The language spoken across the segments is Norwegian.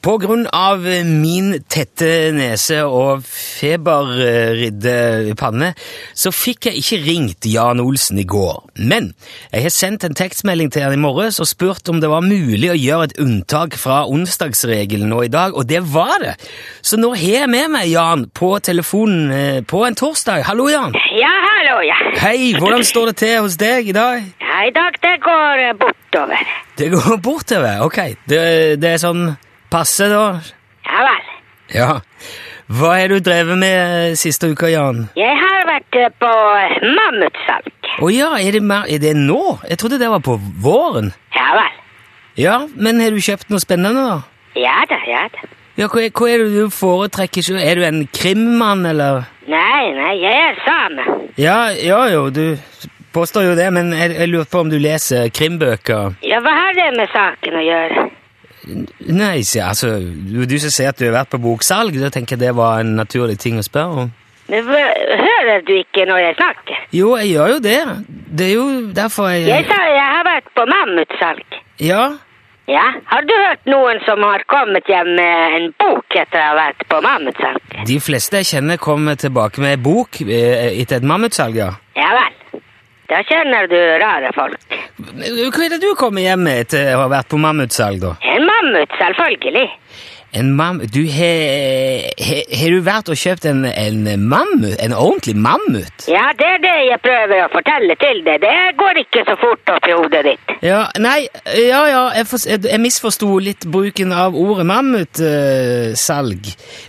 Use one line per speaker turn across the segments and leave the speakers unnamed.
På grunn av eh, min tette nese og feberridde panne, så fikk jeg ikke ringt Jan Olsen i går. Men jeg har sendt en tekstmelding til han i morges og spurt om det var mulig å gjøre et unntak fra onsdagsregelen nå i dag, og det var det. Så nå har jeg med meg Jan på telefonen eh, på en torsdag. Hallo, Jan.
Ja, hallo, ja.
Hei, hvordan står det til hos deg i dag?
Ja, I dag det går eh, bortover.
Det går bortover. Ok, det, det er sånn passe, da.
Ja vel.
Ja. Hva har du drevet med eh, siste uka, Jan?
Jeg har vært eh, på eh, mammutsalg.
Å ja, er det, mer, er det nå? Jeg trodde det var på våren.
Ja vel.
Ja, men har du kjøpt noe spennende, da?
Ja da, ja da.
Ja, hva, er- hva er det du foretrekker? sjø? Er du en krimmann, eller?
Nei, nei, jeg er same.
Ja, ja jo, du påstår jo det, men jeg, jeg lurer på om du leser krimbøker?
Ja, hva har det med saken å gjøre?
Nei, sier jeg, altså, du, du som sier at du har vært på boksalg, da tenker jeg det var en naturlig ting å spørre om.
Men hva- hører du ikke når jeg snakker?
Jo, jeg gjør jo det. Det er jo derfor jeg
Jeg sa jeg har vært på mammutsalg.
Ja.
Ja, har du hørt noen som har kommet hjem med en bok etter å ha vært på mammutsalg?
De fleste jeg kjenner, kommer tilbake med bok eh, etter et mammutsalg, ja.
Ja vel. Da kjenner du rare folk.
Hva er det du kommer hjem med etter å ha vært på mammutsalg, da?
En mammut, selvfølgelig.
En mam... Du, he- he- har du vært og kjøpt en, en mammut? En ordentlig mammut?
Ja, det er det jeg prøver å fortelle til deg. Det går ikke så fort opp i hodet ditt.
Ja, nei, ja, ja, jeg, fors- jeg, jeg misforsto litt bruken av ordet mammutsalg.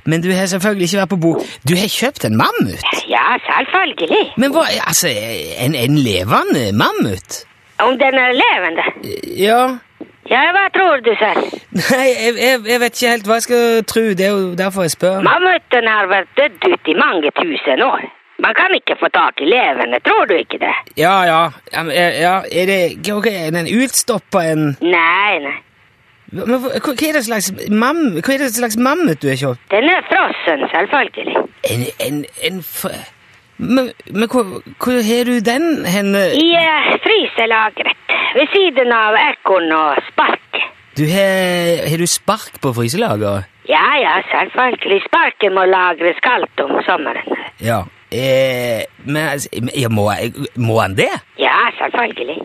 Men du har selvfølgelig ikke vært på bok. Du har kjøpt en mammut?
Ja, selvfølgelig.
Men hva, altså, en, en levende mammut?
Om den er levende.
Ja,
Ja, hva tror du selv?
Nei, jeg, jeg, jeg vet ikke helt hva jeg skal tro. Det er jo derfor jeg spør.
Mammuten har vært dødd ut i mange tusen år. Man kan ikke få tak i levende, tror du ikke det?
Ja, ja. ja, men, eh, ja er det ok, er den utstoppa en
Nei, nei.
men, hva, hva er det slags mam, Hva er det slags mammut du har kjøpt?
Den er frossen, selvfølgelig.
En, en, en f... Men, men hvor, hvor har du den henne?
I uh, fryselageret. Ved siden av ekorn og spark.
Du har, har du spark på fryselageret?
Ja, ja, selvfølgelig. Sparken må lagres kaldt om sommeren.
Ja. Eh, men altså, ja, må, jeg- må han det?
Ja, selvfølgelig.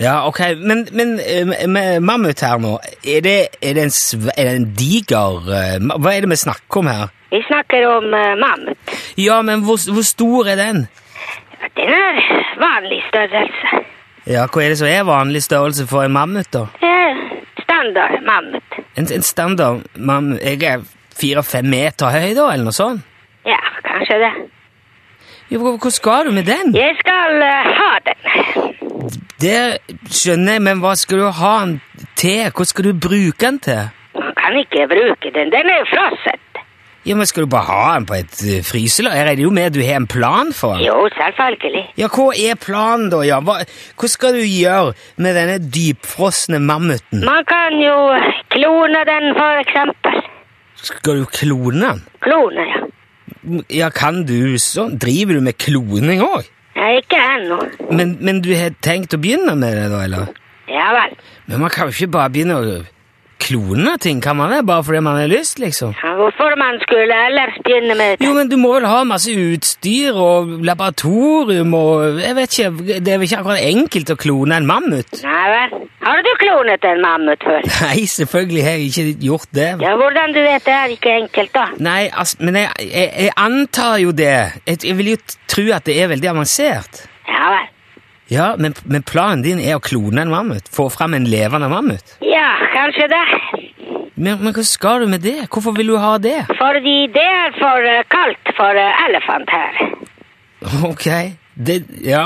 Ja, ok. Men, men eh, med mammut her nå, er det, er det, en, sv- er det en diger eh, ma- Hva er det vi snakker om her?
Vi snakker om eh, mammut.
Ja, men hvor, hvor stor er den?
Den er vanlig størrelse.
Ja, Hva er det som er vanlig størrelse for en mammut, da?
Det er standard mammut.
En, en standard mammut Jeg er fire-fem meter høy, da, eller noe sånt?
Ja, kanskje det.
Jo, Hvor, hvor skal du med den?
Jeg skal eh, ha den.
Det skjønner jeg, men hva skal du ha den til? Hva skal du bruke den til?
Man kan ikke bruke den. Den er jo frosset.
Ja, men Skal du bare ha den på et eh, fryselag? Jeg regner jo med at du har en plan for den?
Jo, selvfølgelig.
Ja, hva er planen da, Jan? Hva, hva skal du gjøre med denne dypfrosne mammuten?
Man kan jo klone den, for eksempel.
Skal du klone den?
Klone, ja.
Ja, kan du sånn? Driver du med kloning òg?
Nei, ikke ennå.
Men, men du har tenkt å begynne med det, da, eller?
Ja vel.
Men man kan jo ikke bare begynne å klone ting, kan man det? Bare fordi man har lyst, liksom?
Ja, Hvorfor man skulle ellers begynne med det?
Jo, men du må vel ha masse utstyr og laboratorium og Jeg vet ikke, det er vel ikke akkurat enkelt å klone en mammut?
Nei vel. Har du klonet en mammut før?
Nei, selvfølgelig har jeg ikke gjort det.
Ja, hvordan du vet det er ikke enkelt, da.
Nei, altså, men jeg, jeg, jeg antar jo det. Jeg, jeg vil jo t- tro at det er veldig avansert.
Ja vel.
Ja, men, men planen din er å klone en mammut? Få fram en levende mammut?
Ja, kanskje det.
Men, men hva skal du med det? Hvorfor vil du ha det?
Fordi det er for eh, kaldt for eh, elefant her.
Ok, det, ja.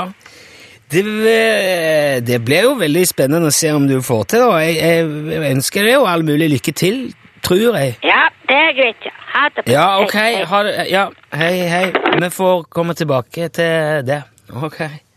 Det, eh, det blir jo veldig spennende å se om du får til, da. Jeg, jeg, jeg ønsker deg jo all mulig lykke til, tror jeg.
Ja, det er greit. Ja, ha det. bra.
Ja, ok.
Hei, hei.
Ha det. Ja, hei, hei. Vi får komme tilbake til det. Ok.